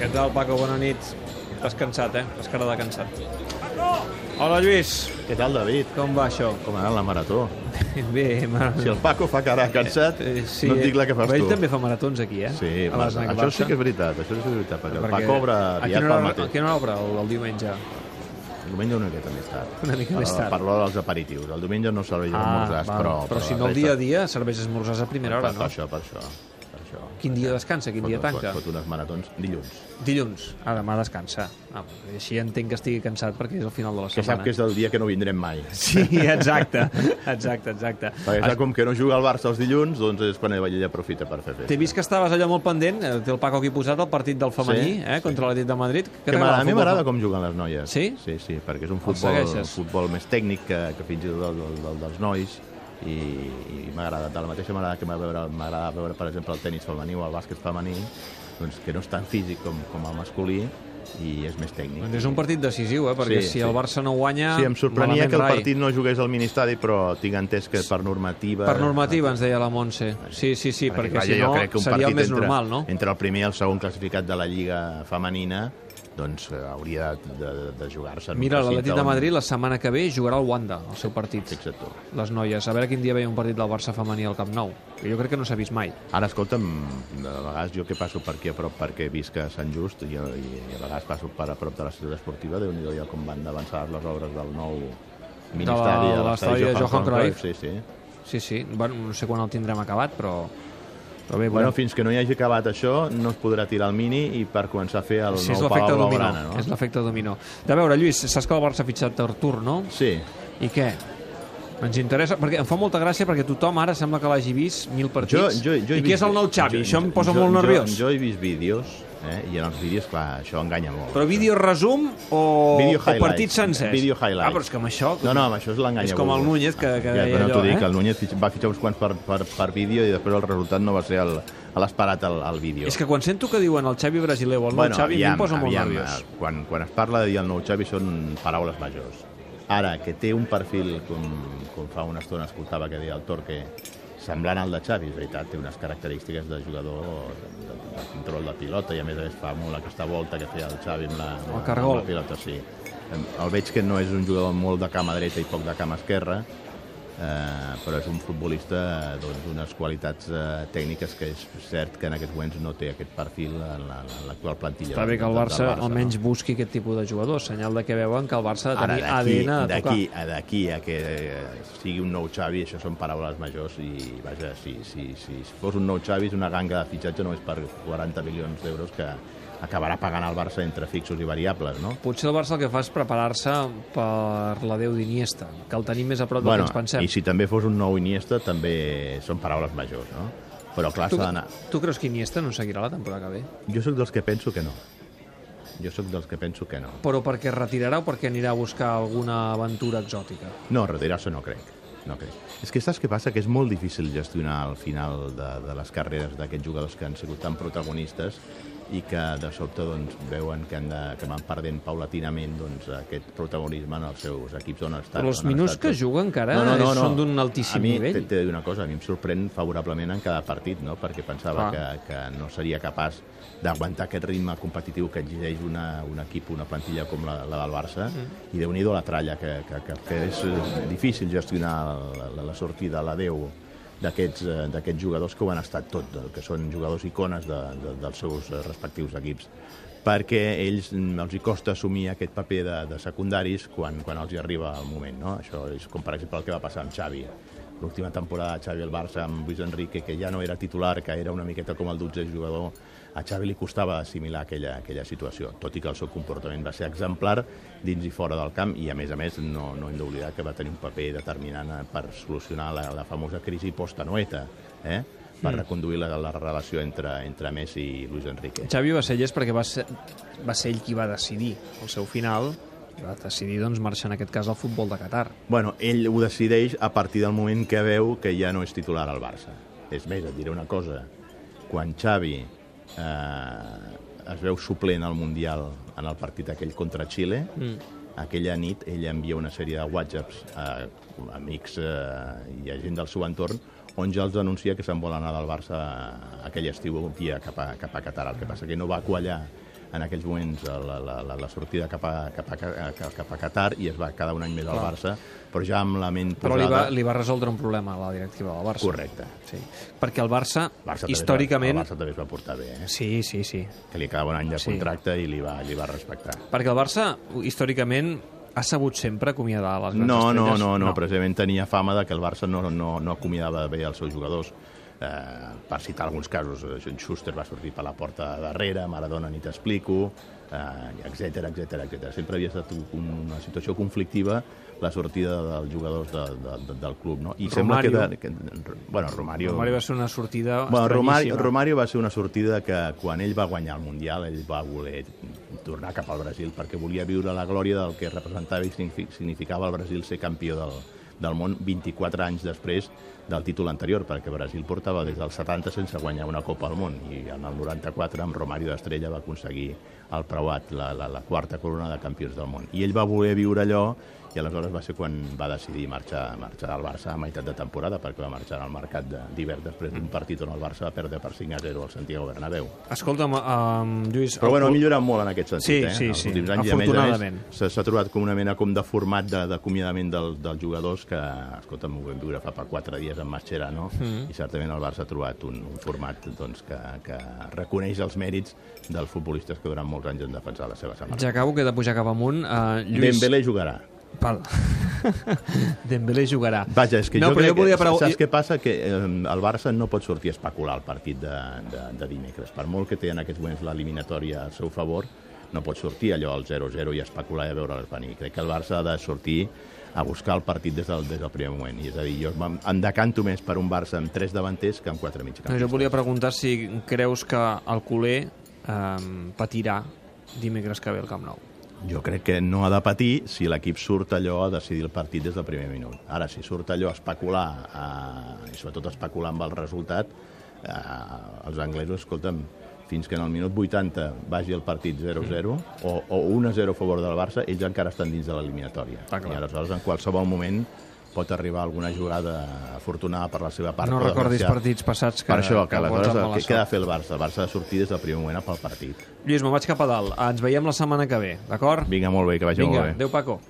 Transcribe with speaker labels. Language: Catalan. Speaker 1: què tal, Paco? Bona nit. T'has cansat, eh? T'has cara de cansat. Hola, Lluís.
Speaker 2: Què tal, David?
Speaker 1: Com va això?
Speaker 2: Com ha anat la marató?
Speaker 1: Bé, ma...
Speaker 2: Si el Paco fa cara cansat,
Speaker 1: Eh,
Speaker 2: sí, no et dic la que fas
Speaker 1: però
Speaker 2: tu.
Speaker 1: Ell també fa maratons aquí, eh?
Speaker 2: Sí,
Speaker 1: a les
Speaker 2: això sí que és veritat, això sí que és veritat, perquè, perquè el Paco obre aviat
Speaker 1: no
Speaker 2: pel
Speaker 1: A
Speaker 2: matí.
Speaker 1: quina hora obre el, el diumenge?
Speaker 2: Diumenge una miqueta més tard.
Speaker 1: Una mica més
Speaker 2: Per-
Speaker 1: tard.
Speaker 2: Per l'hora dels aperitius. El diumenge no serveix ah, esmorzars,
Speaker 1: val.
Speaker 2: però...
Speaker 1: però si no el dia a dia serveix esmorzars a primera hora,
Speaker 2: Per
Speaker 1: no?
Speaker 2: això, per això. Per això.
Speaker 1: Quin dia descansa, quin dia
Speaker 2: Fot-
Speaker 1: tanca?
Speaker 2: Fot, fot unes maratons dilluns.
Speaker 1: Dilluns. Ah, demà descansa. Ah, així entenc que estigui cansat perquè és el final de la
Speaker 2: Que sap
Speaker 1: setmana.
Speaker 2: que és el dia que no vindrem mai.
Speaker 1: Sí, exacte, exacte, exacte.
Speaker 2: Perquè clar, com que no juga al Barça els dilluns, doncs és quan ell aprofita per fer festa.
Speaker 1: T'he vist que estaves allò molt pendent, eh, té el Paco aquí posat, el partit del femení,
Speaker 2: Sí,
Speaker 1: eh, contra l'Atlètic de Madrid. Què
Speaker 2: Que m'agrada- a mi
Speaker 1: el futbol
Speaker 2: m'agrada com juguen les noies.
Speaker 1: Sí?
Speaker 2: Sí, sí, perquè és un futbol,
Speaker 1: segueixes?
Speaker 2: futbol més tècnic que, que fins i tot el, el, el dels nois i, i m'agrada, de la mateixa manera que m'agrada veure, m'agrada veure, per exemple, el tennis femení o el bàsquet femení, doncs que no és tan físic com, com el masculí i és més tècnic.
Speaker 1: Doncs és un partit decisiu, eh? perquè
Speaker 2: Sí,
Speaker 1: sí, si
Speaker 2: sí.
Speaker 1: el Barça no guanya...
Speaker 2: Sí, em sorprenia
Speaker 1: malament
Speaker 2: que el
Speaker 1: rai.
Speaker 2: partit no jugués al ministadi, però tinc entès que per normativa...
Speaker 1: Per normativa, ens deia la Montse. Sí, sí, sí, perquè,
Speaker 2: vaja,
Speaker 1: si
Speaker 2: jo
Speaker 1: no
Speaker 2: crec que un
Speaker 1: seria el
Speaker 2: partit
Speaker 1: més
Speaker 2: entre,
Speaker 1: normal, no?
Speaker 2: Entre el primer i el segon classificat de la Lliga femenina, doncs eh, hauria de, de, de jugar-se. en un
Speaker 1: Mira,
Speaker 2: recinte
Speaker 1: l'Atlètic de
Speaker 2: on-
Speaker 1: Madrid la setmana que ve jugarà al Wanda, el seu partit.
Speaker 2: Fixa't tu.
Speaker 1: Les noies, a veure quin dia veia un partit del Barça femení al Camp Nou. que Jo crec que no s'ha vist mai.
Speaker 2: Ara, escolta'm, de vegades jo que passo per aquí a prop perquè visc a Sant Just i, i, i a vegades passo per a prop de la ciutat esportiva, déu nhi ja com van d'avançar les obres del nou ministeri
Speaker 1: de l'estadi de Johan Cruyff.
Speaker 2: Sí, sí.
Speaker 1: Sí, sí, bueno, no sé quan el tindrem acabat, però... Però bé,
Speaker 2: Bueno,
Speaker 1: bueno,
Speaker 2: fins que no hi hagi acabat això, no es podrà tirar el mini i per començar a fer el
Speaker 1: sí, és
Speaker 2: nou
Speaker 1: l'efecte
Speaker 2: Palau
Speaker 1: dominó.
Speaker 2: Blaugrana,
Speaker 1: És
Speaker 2: no?
Speaker 1: l'efecte dominó. De veure, Lluís, saps que el Barça ha fitxat Artur, no?
Speaker 2: Sí,
Speaker 1: I què? Ens interessa, perquè em fa molta gràcia perquè tothom ara sembla que l'hagi vist mil
Speaker 2: jo,
Speaker 1: partits.
Speaker 2: jo, jo he
Speaker 1: I què
Speaker 2: vist-
Speaker 1: és el nou Xavi?
Speaker 2: jo-
Speaker 1: això em posa
Speaker 2: jo-
Speaker 1: molt
Speaker 2: jo-
Speaker 1: nerviós.
Speaker 2: Jo, he vist vídeos, eh? i en els vídeos, clar, això enganya molt.
Speaker 1: Però vídeo resum o,
Speaker 2: Vídeo
Speaker 1: o
Speaker 2: highlights.
Speaker 1: partits sencers?
Speaker 2: Vídeo highlights.
Speaker 1: Ah, però és que amb això...
Speaker 2: No, no, amb això és l'engany.
Speaker 1: És com el Núñez que- que
Speaker 2: ja,
Speaker 1: deia
Speaker 2: però no
Speaker 1: allò,
Speaker 2: t'ho dic,
Speaker 1: eh?
Speaker 2: el Núñez fitx- va fitxar uns quants per, per, per vídeo i després el resultat no va ser el- l'esperat al, al vídeo.
Speaker 1: És que quan sento que diuen el Xavi brasiler o el nou Xavi, a mi em posa molt nerviós.
Speaker 2: eh, Quan, quan es parla de dir el nou Xavi són paraules majors. Ara, que té un perfil, com, com fa una estona escoltava que deia el Torque, semblant al de Xavi, és veritat, té unes característiques de jugador de, de, de control de pilota i a més a més fa molt aquesta volta que feia el Xavi amb la, amb, la-
Speaker 1: cargol.
Speaker 2: amb la pilota, sí. Em- El veig que no és un jugador molt de cama dreta i poc de cama esquerra, eh, però és un futbolista eh, doncs, d'unes qualitats eh, tècniques que és cert que en aquests moments no té aquest perfil en la- en l'actual plantilla.
Speaker 1: Està bé que el
Speaker 2: del- del
Speaker 1: Barça
Speaker 2: no?
Speaker 1: almenys busqui aquest tipus de jugadors, senyal de que veuen que el Barça ha de
Speaker 2: Ara,
Speaker 1: tenir
Speaker 2: d'aquí-
Speaker 1: ADN de tocar.
Speaker 2: d'aquí a, d'aquí a que eh, sigui un nou Xavi, això són paraules majors i, vaja, si, si, si fos un nou Xavi és una ganga de fitxatge només per 40 milions d'euros que acabarà pagant el Barça entre fixos i variables, no?
Speaker 1: Potser el Barça el que fa és preparar-se per la Déu d'Iniesta, que el tenim més a prop del que ens pensem.
Speaker 2: i si també fos un nou Iniesta, també són paraules majors, no? Però clar,
Speaker 1: Tu,
Speaker 2: s'ha d'anar...
Speaker 1: tu creus que Iniesta no seguirà la temporada que ve?
Speaker 2: Jo sóc dels que penso que no. Jo sóc dels que penso que no.
Speaker 1: Però perquè es retirarà o perquè anirà a buscar alguna aventura exòtica?
Speaker 2: No, retirar-se no crec. No crec. És que saps què passa? Que és molt difícil gestionar el final de, de les carreres d'aquests jugadors que han sigut tan protagonistes i que de sobte doncs, veuen que, han de, que van perdent paulatinament doncs, aquest protagonisme en els seus equips on estan.
Speaker 1: Però els minuts que juga encara són d'un altíssim
Speaker 2: a mi,
Speaker 1: nivell.
Speaker 2: T'he de dir una cosa, a mi em sorprèn favorablement en cada partit, no? perquè pensava que,
Speaker 1: Clar.
Speaker 2: que no seria capaç d'aguantar aquest ritme competitiu que exigeix una, un equip, una plantilla com la, la del Barça, mm. i déu nhi la tralla, que, que, que, que és eh, difícil gestionar la, la, la sortida, l'adeu d'aquests eh, d'aquests jugadors que ho han estat tot, eh, que són jugadors icones de, de, dels seus eh, respectius equips perquè ells mm, els hi costa assumir aquest paper de, de secundaris quan, quan els hi arriba el moment. No? Això és com, per exemple, el que va passar amb Xavi. L'última temporada de Xavi al Barça amb Luis Enrique, que ja no era titular, que era una miqueta com el 12 jugador, a Xavi li costava assimilar aquella, aquella situació, tot i que el seu comportament va ser exemplar dins i fora del camp i, a més a més, no, no hem d'oblidar que va tenir un paper determinant eh, per solucionar la, la famosa crisi post-Anoeta, eh? per reconduir la, la relació entre, entre Messi i Luis Enrique.
Speaker 1: Xavi va ser llest perquè va ser, va ser ell qui va decidir el seu final, i va decidir doncs, marxar en aquest cas al futbol de Qatar.
Speaker 2: Bueno, ell ho decideix a partir del moment que veu que ja no és titular al Barça. És més, et diré una cosa. Quan Xavi eh, es veu suplent al Mundial en el partit aquell contra Xile, mm. aquella nit ell envia una sèrie de whatsapps a amics eh, i a gent del seu entorn on ja els anuncia que se'n vol anar del Barça aquell estiu via cap a, cap a Qatar. El que passa que no va quallar en aquells moments eh, la, la, la, la sortida cap a, cap, a, cap, a, cap a Qatar i es va quedar un any més al
Speaker 1: Clar.
Speaker 2: Barça, però ja amb la ment
Speaker 1: Però li va,
Speaker 2: posada-
Speaker 1: li va resoldre un problema a la directiva del Barça.
Speaker 2: Correcte.
Speaker 1: Sí. Perquè el Barça,
Speaker 2: Barça també es va-
Speaker 1: històricament...
Speaker 2: El Barça també es va portar bé, eh?
Speaker 1: Sí, sí, sí.
Speaker 2: que li acabava un any de
Speaker 1: Sí.
Speaker 2: contracte i li va, li va respectar.
Speaker 1: Perquè el Barça, històricament, ha sabut sempre acomiadar les grans
Speaker 2: No, no,
Speaker 1: estrelles.
Speaker 2: no, no, precisament tenia fama de que el Barça no, no, no acomiadava bé els seus jugadors. Eh, per citar alguns casos, eh, Schuster va sortir per la porta de darrere, Maradona ni t'explico, eh, etc etc etc. Sempre havia estat un- una situació conflictiva la sortida dels jugadors de, de, de, del club, no? I sembla
Speaker 1: Romario.
Speaker 2: que... De, que bueno, Romario...
Speaker 1: Romario va ser una sortida
Speaker 2: Bueno, Romario,
Speaker 1: estranyíssima.
Speaker 2: Romario va ser una sortida que quan ell va guanyar el Mundial ell va voler tornar cap al Brasil perquè volia viure la glòria del que representava i signifi- significava el Brasil ser campió del, del món 24 anys després del títol anterior, perquè Brasil portava des del 70 sense guanyar una Copa al món i en el 94 amb Romario d'Estrella va aconseguir el preuat, la, la, la quarta corona de campions del món. I ell va voler viure allò i aleshores va ser quan va decidir marxar, marxar al Barça a meitat de temporada perquè va marxar al mercat de- d'hivern després d'un partit on el Barça va perdre per 5 a 0 al Santiago Bernabéu.
Speaker 1: Escolta'm, um, Lluís...
Speaker 2: Però
Speaker 1: el
Speaker 2: bueno, ha
Speaker 1: club-
Speaker 2: millorat molt en aquest sentit,
Speaker 1: Sí,
Speaker 2: eh?
Speaker 1: sí,
Speaker 2: els
Speaker 1: sí.
Speaker 2: últims anys, i a més a
Speaker 1: Afortunadament.
Speaker 2: més, s'ha- s'ha trobat com una mena com de format de- d'acomiadament de, del, dels jugadors que, escolta, m'ho vam viure fa per 4 dies amb Mascherano, mm. i certament el Barça ha trobat un, un format doncs, que, que reconeix els mèrits dels futbolistes que durant molts anys han defensat la seva samarreta.
Speaker 1: Ja acabo, que he de pujar cap amunt. Uh, Lluís...
Speaker 2: Dembélé jugarà.
Speaker 1: Pal. Dembélé jugarà.
Speaker 2: Vaja, és que
Speaker 1: no,
Speaker 2: jo
Speaker 1: però
Speaker 2: crec
Speaker 1: jo volia
Speaker 2: que,
Speaker 1: preguntar...
Speaker 2: saps què passa? Que eh, el Barça no pot sortir a especular el partit de, de, de dimecres. Per molt que té en aquests moments l'eliminatòria al seu favor, no pot sortir allò al 0-0 i especular i a veure les venir. Crec que el Barça ha de sortir a buscar el partit des del, des del primer moment. I és a dir, jo em- em decanto més per un Barça amb tres davanters que amb quatre mig
Speaker 1: No, jo volia preguntar si creus que el culer um, patirà dimecres que ve al Camp Nou.
Speaker 2: Jo crec que no ha de patir si l'equip surt allò a decidir el partit des del primer minut. Ara, si surt allò a especular, eh, i sobretot a especular amb el resultat, eh, els anglesos, escolta'm, fins que en el minut 80 vagi el partit 0-0 o, o 1-0 a favor del Barça, ells encara estan dins de l'eliminatòria.
Speaker 1: Ah, clar.
Speaker 2: I aleshores, en qualsevol moment, pot arribar alguna jugada afortunada per la seva part.
Speaker 1: no
Speaker 2: o
Speaker 1: recordis
Speaker 2: desgraciada.
Speaker 1: partits passats que,
Speaker 2: Per això, que
Speaker 1: que pots amb
Speaker 2: aleshores,
Speaker 1: mala
Speaker 2: què, què ha de
Speaker 1: sort.
Speaker 2: fer el Barça? El Barça ha de sortir des del primer moment a pel partit.
Speaker 1: Lluís, me'n vaig cap a dalt. Ens veiem la setmana que ve, d'acord?
Speaker 2: Vinga, molt bé, que vagi molt bé.
Speaker 1: adéu, Paco.